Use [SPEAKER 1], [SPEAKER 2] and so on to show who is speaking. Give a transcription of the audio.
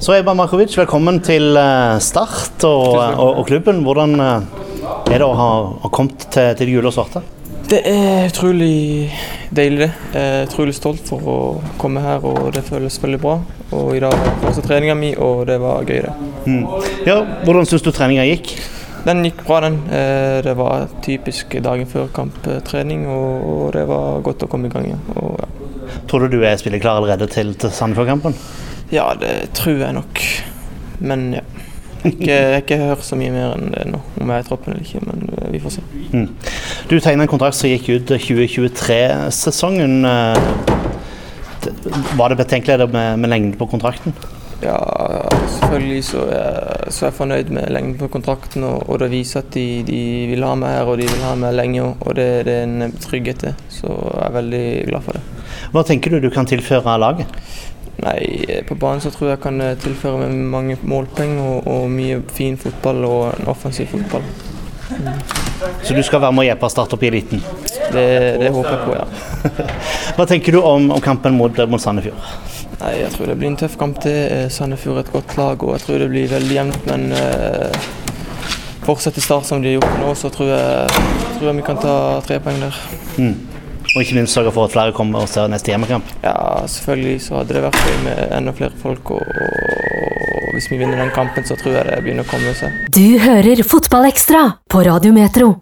[SPEAKER 1] Så Eba Markovic, velkommen til eh, Start og, og, og klubben. Hvordan eh, er det å ha, ha kommet til, til de gule og svarte?
[SPEAKER 2] Det er utrolig deilig, det. Jeg er utrolig stolt for å komme her, og det føles veldig bra. Og I dag var det første treninga mi, og det var gøy, det.
[SPEAKER 1] Ja, Hvordan syns du treninga gikk?
[SPEAKER 2] Den gikk bra, den. Eh, Det var typisk dagen før kamptrening, og og det var godt å komme i gang igjen. Og ja.
[SPEAKER 1] Tror du du er spilleklar allerede til, til Sandefjord-kampen?
[SPEAKER 2] ja, det tror jeg nok. Men ja. Ikke, jeg har ikke hørt så mye mer enn det nå, om jeg er i troppen eller ikke, men eh, vi får se.
[SPEAKER 1] Du tegna en kontrakt som gikk ut eh, 2023-sesongen. eh, Var det betenkelig med, med lengden på kontrakten?
[SPEAKER 2] Ja, selvfølgelig så er, så er jeg fornøyd med lengden på kontrakten. Og, og det viser at de, de vil ha meg her, og de vil ha meg lenge. Og og det, det er en trygghet til. Så jeg er veldig glad for det.
[SPEAKER 1] Hva tenker du du kan tilføre laget?
[SPEAKER 2] Nei, på banen så tror jeg jeg kan eh, tilføre meg mange målpoeng og, og mye fin fotball og en offensiv fotball.
[SPEAKER 1] Så du skal være med og hjelpe Start opp i eliten.
[SPEAKER 2] Det, det håper jeg på, ja.
[SPEAKER 1] Hva tenker du om, om kampen mot, mot Sandefjord?
[SPEAKER 2] Nei, jeg tror det blir en tøff kamp til. Eh, Sandefjord er et godt lag, og jeg tror det blir veldig jevnt. Men eh, fortsetter Start som de har gjort nå, så tror jeg, tror jeg vi kan ta tre poeng der.
[SPEAKER 1] Og ikke minst sørge for at flere kommer og ser neste hjemmekamp.
[SPEAKER 2] Ja, selvfølgelig så hadde det vært gøy med enda flere folk. Og, og hvis vi vinner den kampen, så tror jeg det begynner å komme seg.
[SPEAKER 3] Du hører Fotballekstra på Radiometro.